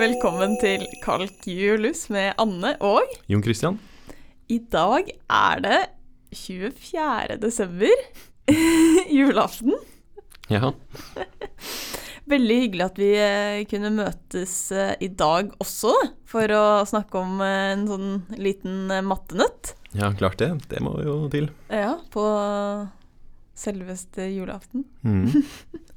velkommen til Kalkjulus med Anne og Jon Christian? I dag er det 24. desember, julaften. Ja. Veldig hyggelig at vi eh, kunne møtes eh, i dag også, for å snakke om eh, en sånn liten eh, mattenøtt. ja, klart det. Det må jo til. Ja, på selveste julaften. Mm.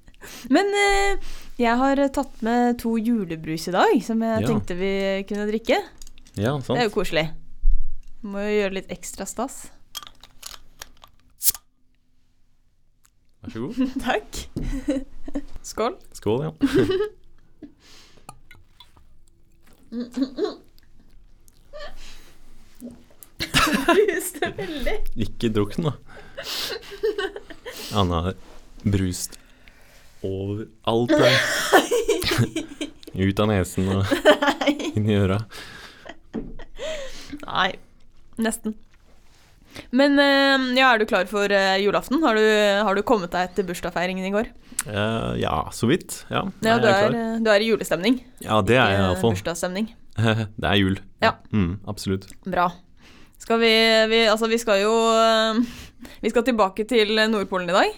Men eh, jeg har tatt med to julebrus i dag, som jeg Ja. tenkte vi kunne drikke. Ja, Det er jo sant. koselig. Må jo gjøre litt ekstra stas. Vær så god. Takk. Skål. Skål, ja. Bruste veldig. Ikke drukk den, da. Anna har brust overalt der. Ut av nesen og inn i øra. Nei. Nesten. Men eh, ja, er du klar for eh, julaften? Har du, har du kommet deg etter bursdagsfeiringen i går? Eh, ja, så vidt. Ja, Ja, Nei, du jeg er, klar. eh, du er i julestemning. Ja, det er jeg Eh, iallfall. Bursdagsstemning. Det er jul. Ja. Mm, absolutt. Bra. Skal vi, vi Altså, vi skal jo eh, Vi skal tilbake til Nordpolen i dag.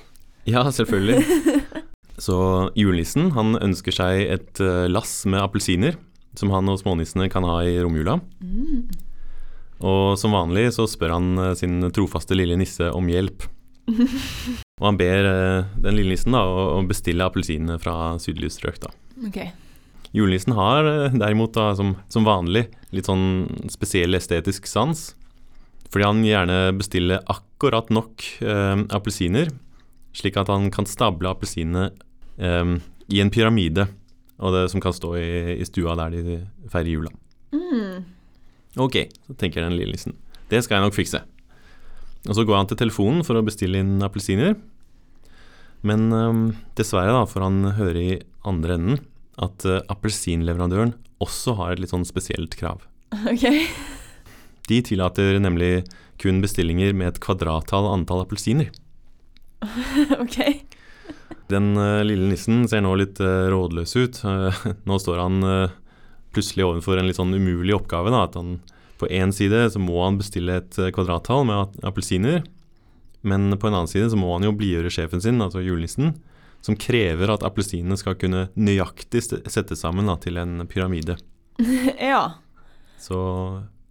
Ja, selvfølgelig. Så julenissen han ønsker seg et eh, lass med appelsiner, som han og smånissene kan ha i romjula. Og som vanlig så spør han eh, sin trofaste lille nisse om hjelp. Og han ber eh, den lille nissen da, å å bestille appelsinene fra sydlige strøk. da. Ok. Julenissen har eh, derimot, da, som, som vanlig, litt sånn spesiell estetisk sans. Fordi han gjerne bestiller akkurat nok eh, appelsiner, slik at han kan stable appelsinene eh, i en pyramide, og det, som kan stå i, i stua der de feirer jula. Mm. Ok, så tenker den lille nissen. Det skal jeg nok fikse. Og så går han til telefonen for å bestille inn appelsiner. Men øhm, dessverre da, får han høre i andre enden at øh, appelsinleverandøren også har et litt sånn spesielt krav. Ok. De tillater nemlig kun bestillinger med et kvadrattall antall appelsiner. ok. Den øh, lille nissen ser nå litt øh, rådløs ut. Eh, nå står han øh, plutselig overfor en litt sånn umulig oppgave. Da, at han på én side så må han bestille et eh, kvadrattall med ap- appelsiner, men på en annen side så må han jo blidgjøre sjefen sin, altså julenissen, som krever at appelsinene skal kunne nøyaktig st- settes sammen da, til en pyramide. Ja. Så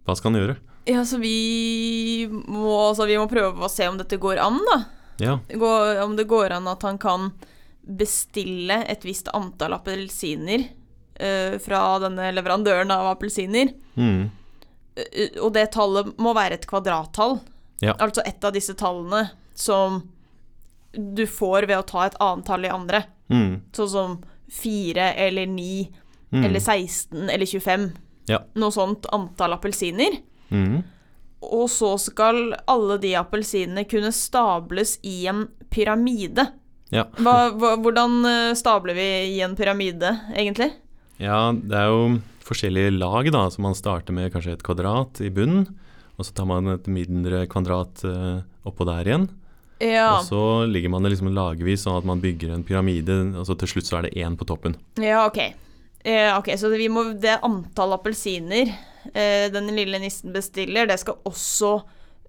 hva skal han gjøre? Ja, så vi må, altså, vi må prøve å se om dette går an, da. Ja, gå, om det går an at han kan bestille et visst antall appelsiner eh, fra denne leverandøren av appelsiner. mm, Eh, og det tallet må være et kvadrattall. Ja. Altså ett av disse tallene som du får ved å ta et annet tall i andre. mm, Sånn som fire eller ni mm, eller 16 eller 25. Ja. Noe sånt antall appelsiner. mm, Og så skal alle de appelsinene kunne stables i en pyramide. ja. Hva, hva, hvordan eh, stabler vi i en pyramide, egentlig? Ja, det er jo forskjellige lag, da. Så man starter med kanskje et kvadrat i bunnen. Og så tar man et mindre kvadrat eh, oppå der igjen. Ja, Og så ligger man det liksom lagvis, sånn at man bygger en pyramide, og så til slutt så er det én på toppen. ja ok. Eh, ok, Så vi må, det antall appelsiner eh, den lille nissen bestiller, det skal også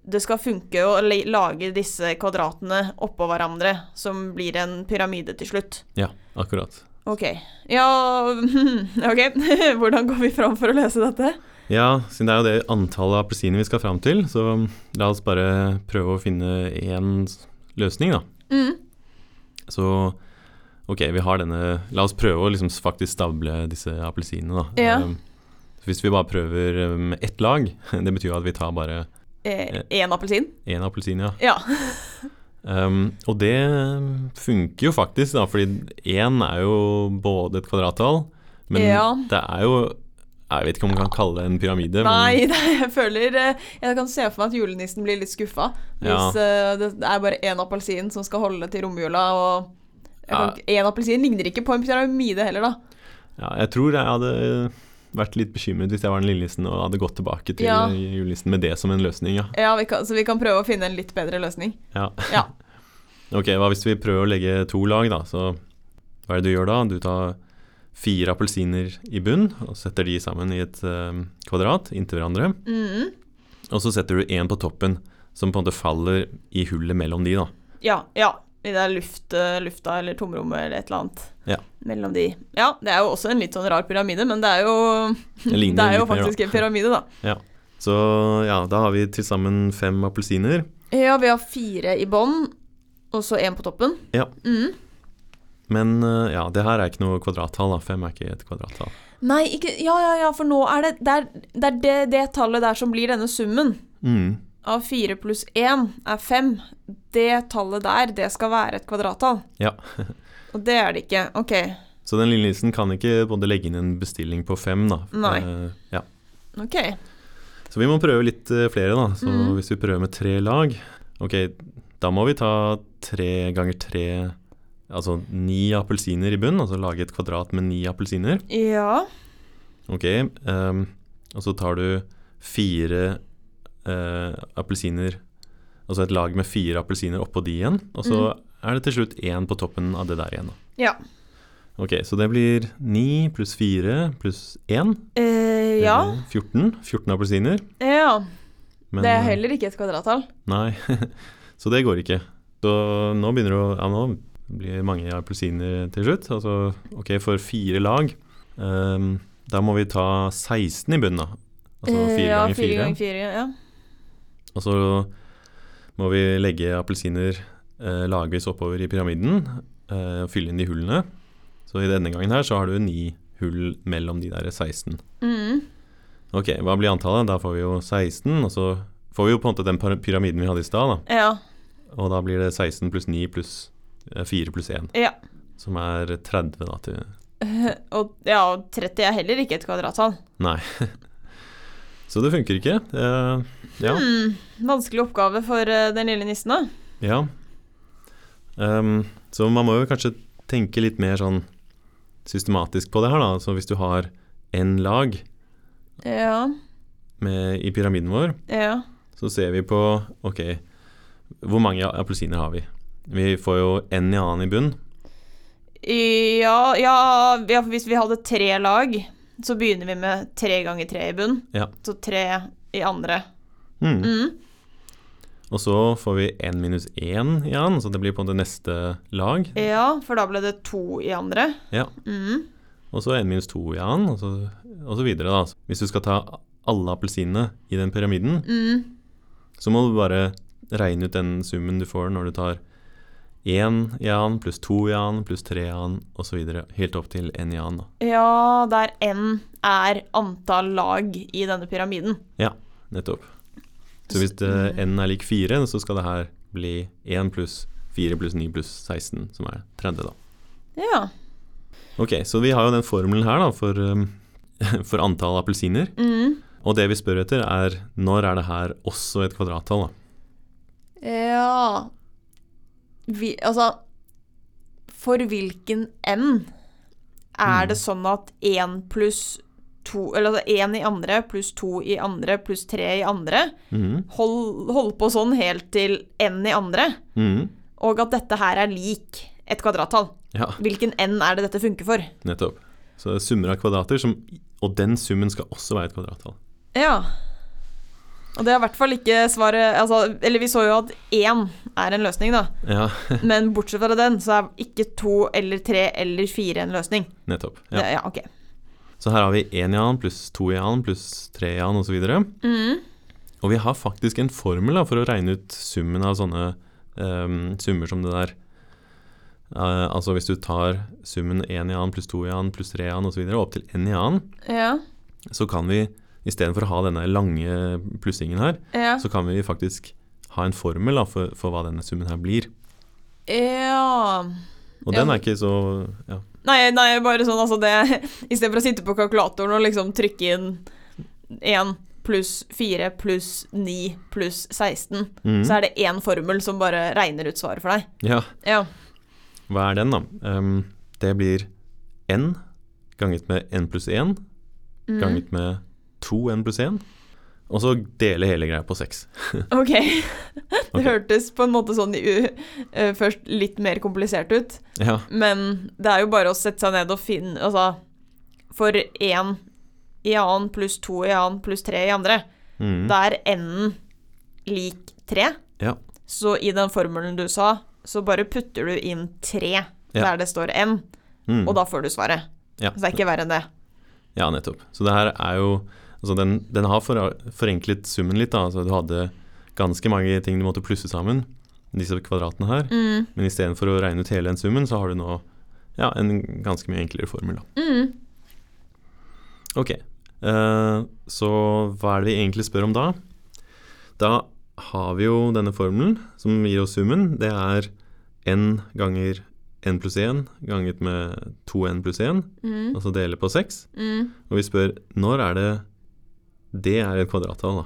Det skal funke å la- lage disse kvadratene oppå hverandre, som blir en pyramide til slutt. Ja, akkurat. Ok. Ja Ok, hvordan går vi fram for å løse dette? Ja, siden det er jo det antallet appelsiner vi skal fram til, så la oss bare prøve å finne én s- løsning, da. Mm. Så ok, vi har denne La oss prøve å liksom faktisk stable disse appelsinene, da. Ja. Um, Hvis vi bare prøver um, med ett lag, det betyr jo at vi tar bare Eh. Én Eh, appelsin? én appelsin, ja. Ja. Um, og det ehm, funker jo faktisk, da, fordi én er jo både et kvadrattall, men Ja. det er jo Jeg vet ikke om man kan kalle det en pyramide, men Nei, det, jeg føler eh, Jeg kan se for meg at julenissen blir litt skuffa Ja. hvis eh, det er bare én appelsin som skal holde til romjula, og jeg kan Ja. ikke- én appelsin ligner ikke på en pyramide heller, da. ja, jeg tror jeg hadde vært litt bekymret hvis jeg var den lille nissen og hadde gått tilbake til Ja. julenissen med det som en løsning, ja. Ja, vi kan, Så vi kan prøve å finne en litt bedre løsning. ja. Ja. Ok, hva hvis vi prøver å legge to lag, da? Så hva er det du gjør da? Du tar fire appelsiner i bunn, og setter de sammen i et eh, kvadrat inntil hverandre. Mhm. Og så setter du én på toppen, som på en måte faller i hullet mellom de, da. Ja, ja. I det luft, eh, lufta eller tomrommet eller et eller annet Ja. mellom de. Ja, det er jo også en litt sånn rar pyramide, men det er jo, Det ligner det er jo litt mer, da. faktisk en pyramide, da. Så ja, da har vi til sammen fem appelsiner. Ja, vi har fire i bånn, og så én på toppen. Ja. Mhm. Men eh, ja, det her er ikke noe kvadrattall, da. Fem er ikke et kvadrattall. Nei, ikke Ja, ja, ja, for nå er det Det er det, er det, det tallet der som blir denne summen. Mm. Av fire pluss én er fem. Det tallet der, det skal være et kvadrattall. Ja. Og det er det ikke. Ok. Så den lille nissen kan ikke både legge inn en bestilling på fem, da. Nei. Eh, ja. ok. Så vi må prøve litt eh, flere, da. Så Mhm. hvis vi prøver med tre lag, ok, da må vi ta tre ganger tre Altså ni appelsiner i bunn, altså lage et kvadrat med ni appelsiner. Ja. Ok, ehm, og så tar du fire eh, appelsiner Altså et lag med fire appelsiner oppå de igjen, og så Mhm. er det til slutt én på toppen av det der igjen. da. Ja. Ok, så det blir ni pluss fire pluss én. Eh, ja. eller 14. 14 appelsiner. ja. men- eh, det er heller ikke et kvadrattall. Nei, så det går ikke. Så nå begynner det å Ja, nå blir det mange appelsiner til slutt. Altså, ok, for fire lag ehm, Da må vi ta 16 i bunnen, da. Altså Eh, fire ja, ganger fire fire. ganger fire. Ja. Og så må vi legge appelsiner eh, lagvis oppover i pyramiden eh, og fylle inn de hullene. Så i denne gangen her så har du ni hull mellom de der 16. Mhm. Ok, hva blir antallet? Da får vi jo 16, og så får vi jo på en måte den pyra- pyramiden vi hadde i stad, da. ja. Og da blir det 16 pluss 9 pluss eh, 4 pluss 1. Ja. Som er 30, da. Til. Og ja, og 30 er heller ikke et kvadrattall. Nei. Så det funker ikke. Eh, ja. Hmm, vanskelig oppgave for eh, den lille nissen, da. ja. Ehm, så man må jo kanskje tenke litt mer sånn systematisk på det her, da. Så hvis du har én lag Ja. med, i pyramiden vår, Ja. så ser vi på Ok, hvor mange appelsiner har vi? Vi får jo én i annen i bunn. Ja, ja, ja, for hvis vi hadde tre lag, så begynner vi med tre ganger tre i bunn. Ja. Så tre i andre. Hmm. Mm. Og så får vi 1 minus 1 i annen, så det blir på det neste lag. Ja, for da ble det to i andre. Ja. Mm. Og så 1 minus 2 i annen, og så, og så videre. da. Hvis du skal ta alle appelsinene i den pyramiden, Mm. så må du bare regne ut den summen du får når du tar 1 i annen, pluss 2 i annen, pluss 3 i annen, osv. Helt opp til 1 i annen. da. Ja, der n er antall lag i denne pyramiden. Ja, nettopp. Så hvis det, n er lik 4, så skal det her bli 1 pluss 4 pluss 9 pluss 16, som er 30, da. Ja. Ok, så vi har jo den formelen her da, for, um, for antall appelsiner. Mm. Og det vi spør etter er når er det her også et kvadrattall? Da? Ja vi, Altså, for hvilken n er det sånn at én pluss to Eller altså én i andre pluss to i andre pluss tre i andre Mhm, hold, holde på sånn helt til n i andre, mhm, og at dette her er lik et kvadrattall. Ja, Hvilken n er det dette funker for? nettopp. Så det er summer av kvadrater, som, og den summen skal også være et kvadrattall. Ja. Og det er i hvert fall ikke svaret altså, Eller vi så jo at én er en løsning, da. Ja, Men bortsett fra den, så er ikke to eller tre eller fire en løsning. nettopp. Ja, Ja. ja ok. Så her har vi 1 i annen pluss 2 i annen pluss 3 i annen osv. Mhm. Og vi har faktisk en formel da, for å regne ut summen av sånne um, summer som det der. Eh, altså hvis du tar summen 1 i annen pluss 2 i annen pluss 3 i annen osv. opp til n i annen, Ja. så kan vi istedenfor å ha denne lange plussingen her, Ja. så kan vi faktisk ha en formel da, for, for hva denne summen her blir. ja. Og Ja. den er ikke så ja. Nei, nei, bare sånn, altså det Istedenfor å sitte på kalkulatoren og liksom trykke inn 1 pluss 4 pluss 9 pluss 16, Mhm. så er det én formel som bare regner ut svaret for deg. ja. Ja. Hva er den, da? Ehm, det blir n ganget med n pluss 1 Mm. ganget med 2n pluss 1, og så dele hele greia på 6. Mm. Ok. Ok. Det hørtes på en måte sånn i, u- eh, først litt mer komplisert ut, Ja, men det er jo bare å sette seg ned og finne Altså, for én i annen pluss to i annen pluss tre i andre. Mm. Da er n-en lik tre. Ja. Så i den formelen du sa, så bare putter du inn tre der det står n, Mm. og da får du svaret. Ja. Så det er ikke verre enn det. Ja, nettopp. Så det her er jo Altså, den, den har for, forenklet summen litt, da. Altså, du hadde ganske mange ting du måtte plusse sammen, disse kvadratene her. Mm. Men istedenfor å regne ut hele den summen, så har du nå ja, en ganske mye enklere formel, da. Mm. Ok, eh, så hva er det vi egentlig spør om da? Da har vi jo denne formelen som gir oss summen. Det er n ganger n pluss 1 ganget med 2n pluss 1, Mm. altså dele på 6. Mm. Og vi spør når er det det er et kvadrattall, da.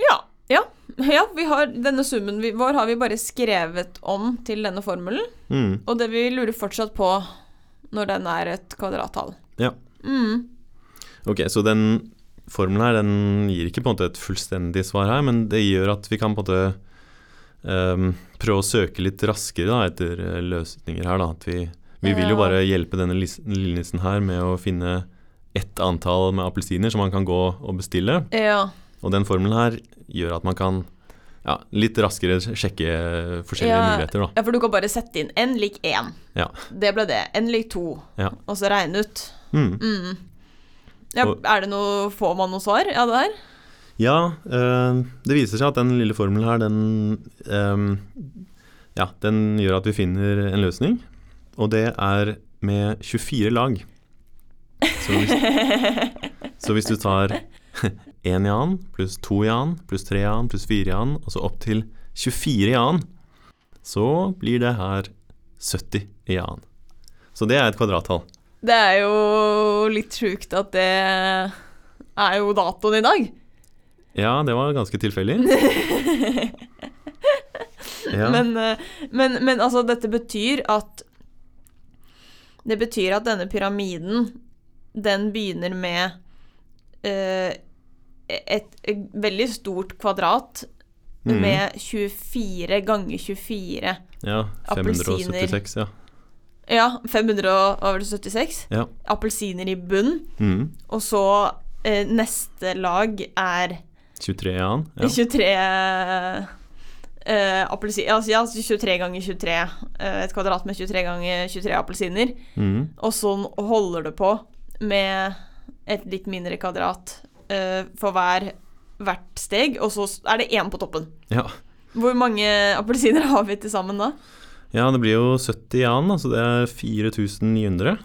Ja. Ja. ja vi har, denne summen vi- vår har vi bare skrevet om til denne formelen. Mm, Og det vi lurer fortsatt på når den er et kvadrattall. ja. Mm. Ok, så den formelen her den gir ikke på en måte et fullstendig svar her, men det gjør at vi kan på en måte ehm, prøve å søke litt raskere da, etter eh, løsninger her. Da. At vi, vi vil jo Ja. bare hjelpe denne lis- lille nissen her med å finne ett antall med appelsiner som man kan gå og bestille. Ja. Og den formelen her gjør at man kan ja, litt raskere sjekke forskjellige Ja. muligheter. Da. ja, for du kan bare sette inn n lik 1. Ja. Det ble det. n lik 2. Ja. Og så regne ut. Mm. Mm. Ja, Og- er det noe Får man noe svar av det her? Ja, eh, det viser seg at den lille formelen her, den, eh, ja, den gjør at vi finner en løsning. Og det er med 24 lag. Så hvis, så hvis du tar én i annen, pluss to i annen, pluss tre i annen, pluss fire i annen, og så opp til 24 i annen, så blir det her 70 i annen. Så det er et kvadrattall. Det er jo litt sjukt at det er jo datoen i dag. Ja, det var ganske tilfeldig. Ja. Men, eh, men, men altså, dette betyr at Det betyr at denne pyramiden, den begynner med eh, et, et veldig stort kvadrat Mhm. med 24 ganger 24. Ja, Appelsiner. 576, ja. Ja, 576 ja. appelsiner i bunn. Mm. Og så eh, neste lag er 23 i annen. 23 Ja. eh, appelsin... Altså, ja, 23 ganger 23. eh, et kvadrat med 23 ganger 23 appelsiner. Mm. Og sånn holder det på med et litt mindre kvadrat eh, for hver, hvert steg, og så s- er det én på toppen. Ja. Hvor mange appelsiner har vi til sammen da? ja, det blir jo 70 i annen, altså det er 4900.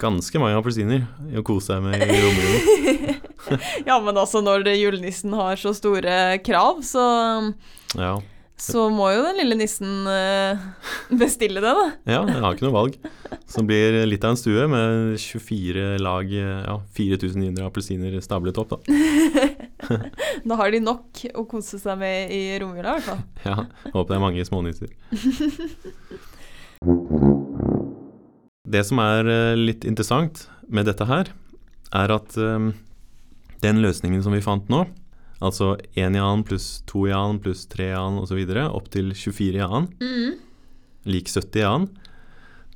Ganske mange appelsiner å kose seg med i romjulen. Ja, men altså, når det- julenissen har så store krav, så, Ja. så må jo den lille nissen eh, bestille det, da. ja, jeg har ikke noe valg. Så det blir litt av en stue med 24 lag, ja, 4900 appelsiner stablet opp, da. Da har de nok å kose seg med i romjula, i hvert fall. Ja, håper det er mange smånisser. Det som er eh, litt interessant med dette her, er at eh, den løsningen som vi fant nå, altså 1 i annen pluss 2 i annen pluss 3 i annen osv., opp til 24 i annen, lik 70 i annen,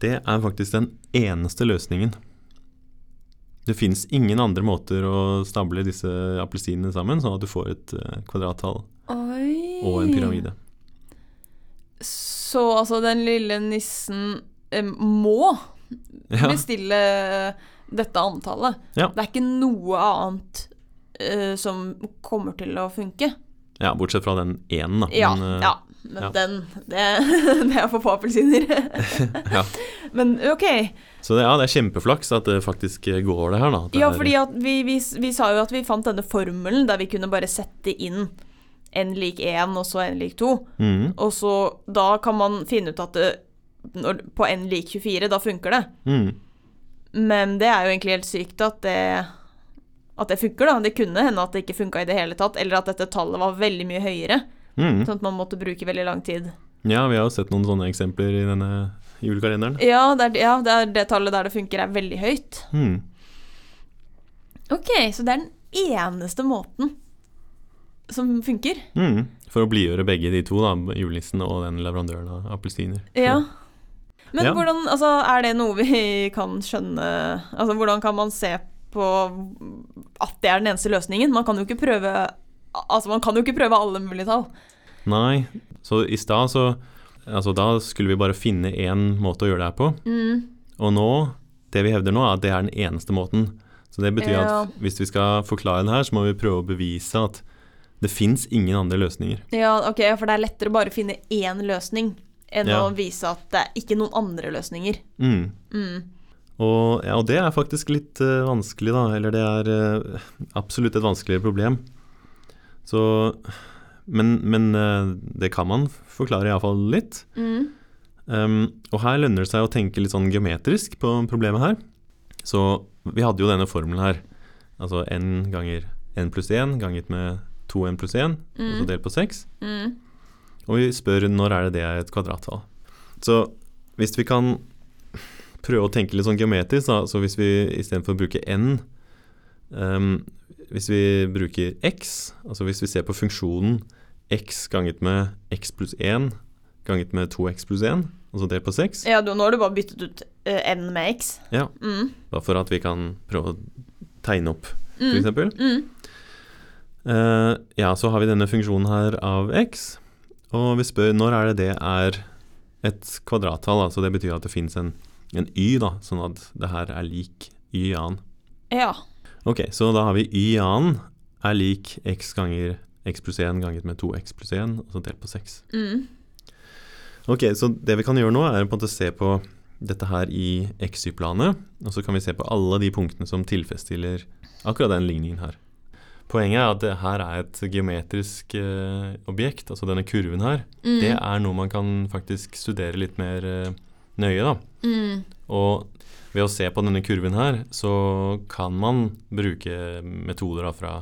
det er faktisk den eneste løsningen. Det finnes ingen andre måter å stable disse appelsinene sammen, sånn at du får et eh, kvadrattall Oi. og en pyramide. Så altså, den lille nissen eh, må Ja. bestille eh, dette antallet. Ja. Det er ikke noe annet eh, som kommer til å funke. Ja, bortsett fra den enen, da. Ja, Men, eh, ja. Men ja. den Det, det er for få appelsiner. Ja. Men OK. Så det, ja, det er kjempeflaks at det faktisk eh, går, det her, da. At det Ja, er- fordi at vi, vi, vi sa jo at vi fant denne formelen der vi kunne bare sette inn n lik 1 og så n lik 2. Mhm, Og så da kan man finne ut at det, når, på n lik 24, da funker det. mhm. Men det er jo egentlig helt sykt at det, at det funker, da. Det kunne hende at det ikke funka i det hele tatt, eller at dette tallet var veldig mye høyere. Mhm. Sånn at man måtte bruke veldig lang tid. Ja, vi har jo sett noen sånne eksempler i denne julekalenderen. Ja, det er, ja, det, er det tallet der det funker, er veldig høyt. Mhm. Ok, så det er den eneste måten som funker. mm. Mhm. For å blidgjøre begge de to, da, julenissen og den leverandøren av appelsiner. Ja. Men Ja. hvordan, altså, er det noe vi kan skjønne Altså, hvordan kan man se på at det er den eneste løsningen? Man kan jo ikke prøve Altså, man kan jo ikke prøve alle mulige tall. Nei, så i stad så Altså da skulle vi bare finne én måte å gjøre det her på. Mm. Og nå, det vi hevder nå, er at det er den eneste måten. Så det betyr Ja. at hvis vi skal forklare det her, så må vi prøve å bevise at det fins ingen andre løsninger. Ja, ok, for det er lettere å bare finne én løsning enn Ja. å vise at det er ikke noen andre løsninger. Mm. Mm. Og, ja, og det er faktisk litt eh, vanskelig, da. Eller det er eh, absolutt et vanskeligere problem. Så Men, men eh, det kan man forklare iallfall litt. Mm. Um, og her lønner det seg å tenke litt sånn geometrisk på problemet her. Så vi hadde jo denne formelen her. Altså n ganger n pluss 1 ganget med 2n pluss 1, og så Mm. delt på 6. Mm. Og vi spør når er det det er et kvadrattall. Så hvis vi kan prøve å tenke litt sånn geometrisk, da, så hvis vi istedenfor å bruke n um, Hvis vi bruker x, altså hvis vi ser på funksjonen x ganget med x pluss 1 ganget med 2x pluss 1, altså delt på 6 Ja, du, nå har du bare byttet ut eh, n med x. Ja. Mm. Bare for at vi kan prøve å tegne opp, Mm. f.eks. Mm. Mm. Eh, ja, så har vi denne funksjonen her av x, og vi spør når er det det er et kvadrattall, altså det betyr at det fins en, en y, da, sånn at det her er lik y annen. Ja. Ok, så da har vi y annen er lik x ganger x pluss 1 ganget med 2x pluss 1, altså delt på 6. Mm. Ok, så det vi kan gjøre nå er på en måte se på dette her i XY-planet, og så kan vi se på alle de punktene som tilfredsstiller akkurat den ligningen her. Poenget er at det her er et geometrisk eh, objekt, altså denne kurven her. Mm. Det er noe man kan faktisk studere litt mer eh, nøye, da. Mm. Og ved å se på denne kurven her, så kan man bruke metoder da, fra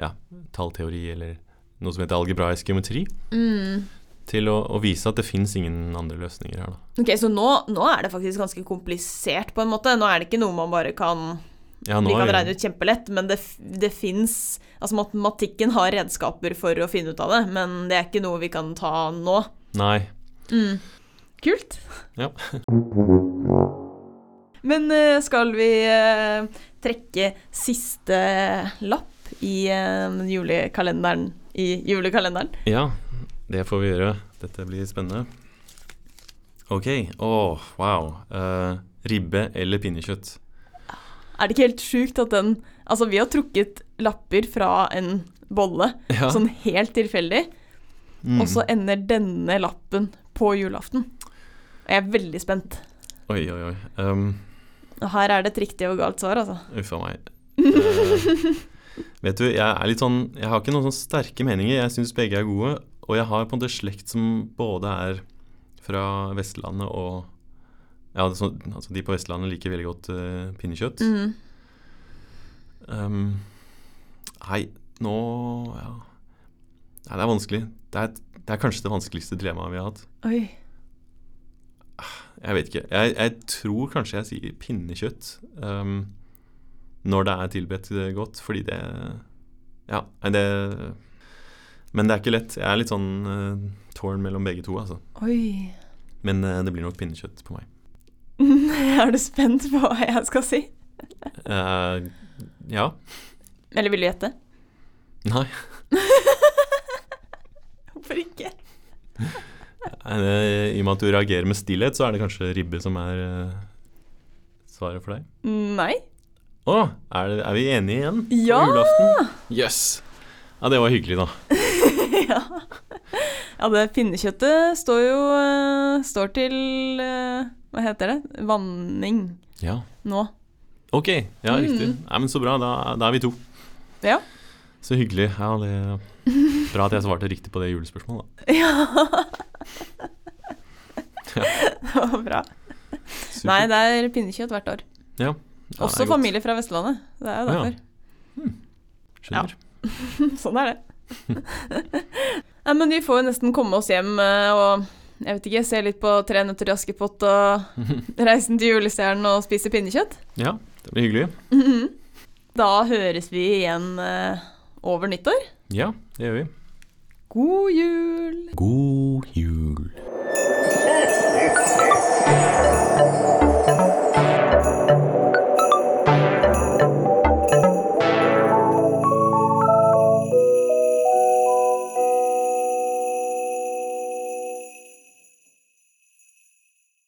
ja, tallteori eller noe som heter algebraisk geometri, Mm. til å, å vise at det fins ingen andre løsninger her, da. Ok, Så nå, nå er det faktisk ganske komplisert, på en måte. Nå er det ikke noe man bare kan Ja, nå Vi kan er- regne ut kjempelett, men det, f- det fins Altså, matematikken har redskaper for å finne ut av det, men det er ikke noe vi kan ta nå. Nei. Kult. Ja. Men eh, skal vi eh, trekke siste lapp i eh, julekalenderen i julekalenderen? ja, det får vi gjøre. Dette blir spennende. Ok. Å, wow. Eh, ribbe eller pinnekjøtt? Er det ikke helt sjukt at den Altså, vi har trukket lapper fra en bolle, Ja. sånn helt tilfeldig, Mm. og så ender denne lappen på julaften. Og jeg er veldig spent. Oi, oi, oi. Um, Og her er det et riktig og galt svar, altså. Uff a meg. Eh, vet du, jeg er litt sånn Jeg har ikke noen sånn sterke meninger. Jeg syns begge er gode. Og jeg har på en måte slekt som både er fra Vestlandet og Ja, det er sånn- altså de på Vestlandet liker veldig godt eh, pinnekjøtt. Mm. Ehm, nei, nå ja. Nei, det er vanskelig. Det er, det er kanskje det vanskeligste dilemmaet vi har hatt. Mm. Oi. Jeg vet ikke. Jeg, jeg tror kanskje jeg sier pinnekjøtt ehm, når det er tilberedt eh, godt, fordi det Ja, nei, det Men det er ikke lett. Jeg er litt sånn uh, torn mellom begge to, altså. Oi. Men eh, det blir nok pinnekjøtt på meg. er du spent på hva jeg skal si? Eh, ja. Eller vil du gjette? Nei. Hvorfor ikke? Nei, det, I og med at du reagerer med stillhet, så er det kanskje ribbe som er eh, svaret for deg. Nei. Å, er, det, er vi enige igjen? på Ja! julaften? Jøss. Yes. Ja, det var hyggelig, da. ja. ja, det pinnekjøttet står jo eh, Står til eh, Hva heter det? Vanning Ja. nå. Ok, ja, riktig. Mm. Nei, men Så bra, da, da er vi to. Ja. Så hyggelig. Ja, det Bra at jeg svarte riktig på det julespørsmålet. da. Ja. det var bra. Supert. Nei, det er pinnekjøtt hvert år. Ja, det er Også godt. familie fra Vestlandet. Det er jo Ja. derfor. Skjønner. sånn er det. Nei, men vi får jo nesten komme oss hjem eh, og jeg vet ikke, se litt på Tre nøtter til Askepott og Reisen til julestjernen og spise pinnekjøtt. Ja. det blir hyggelig. Da høres vi igjen eh, over nyttår. Ja, det gjør vi. God jul! God jul.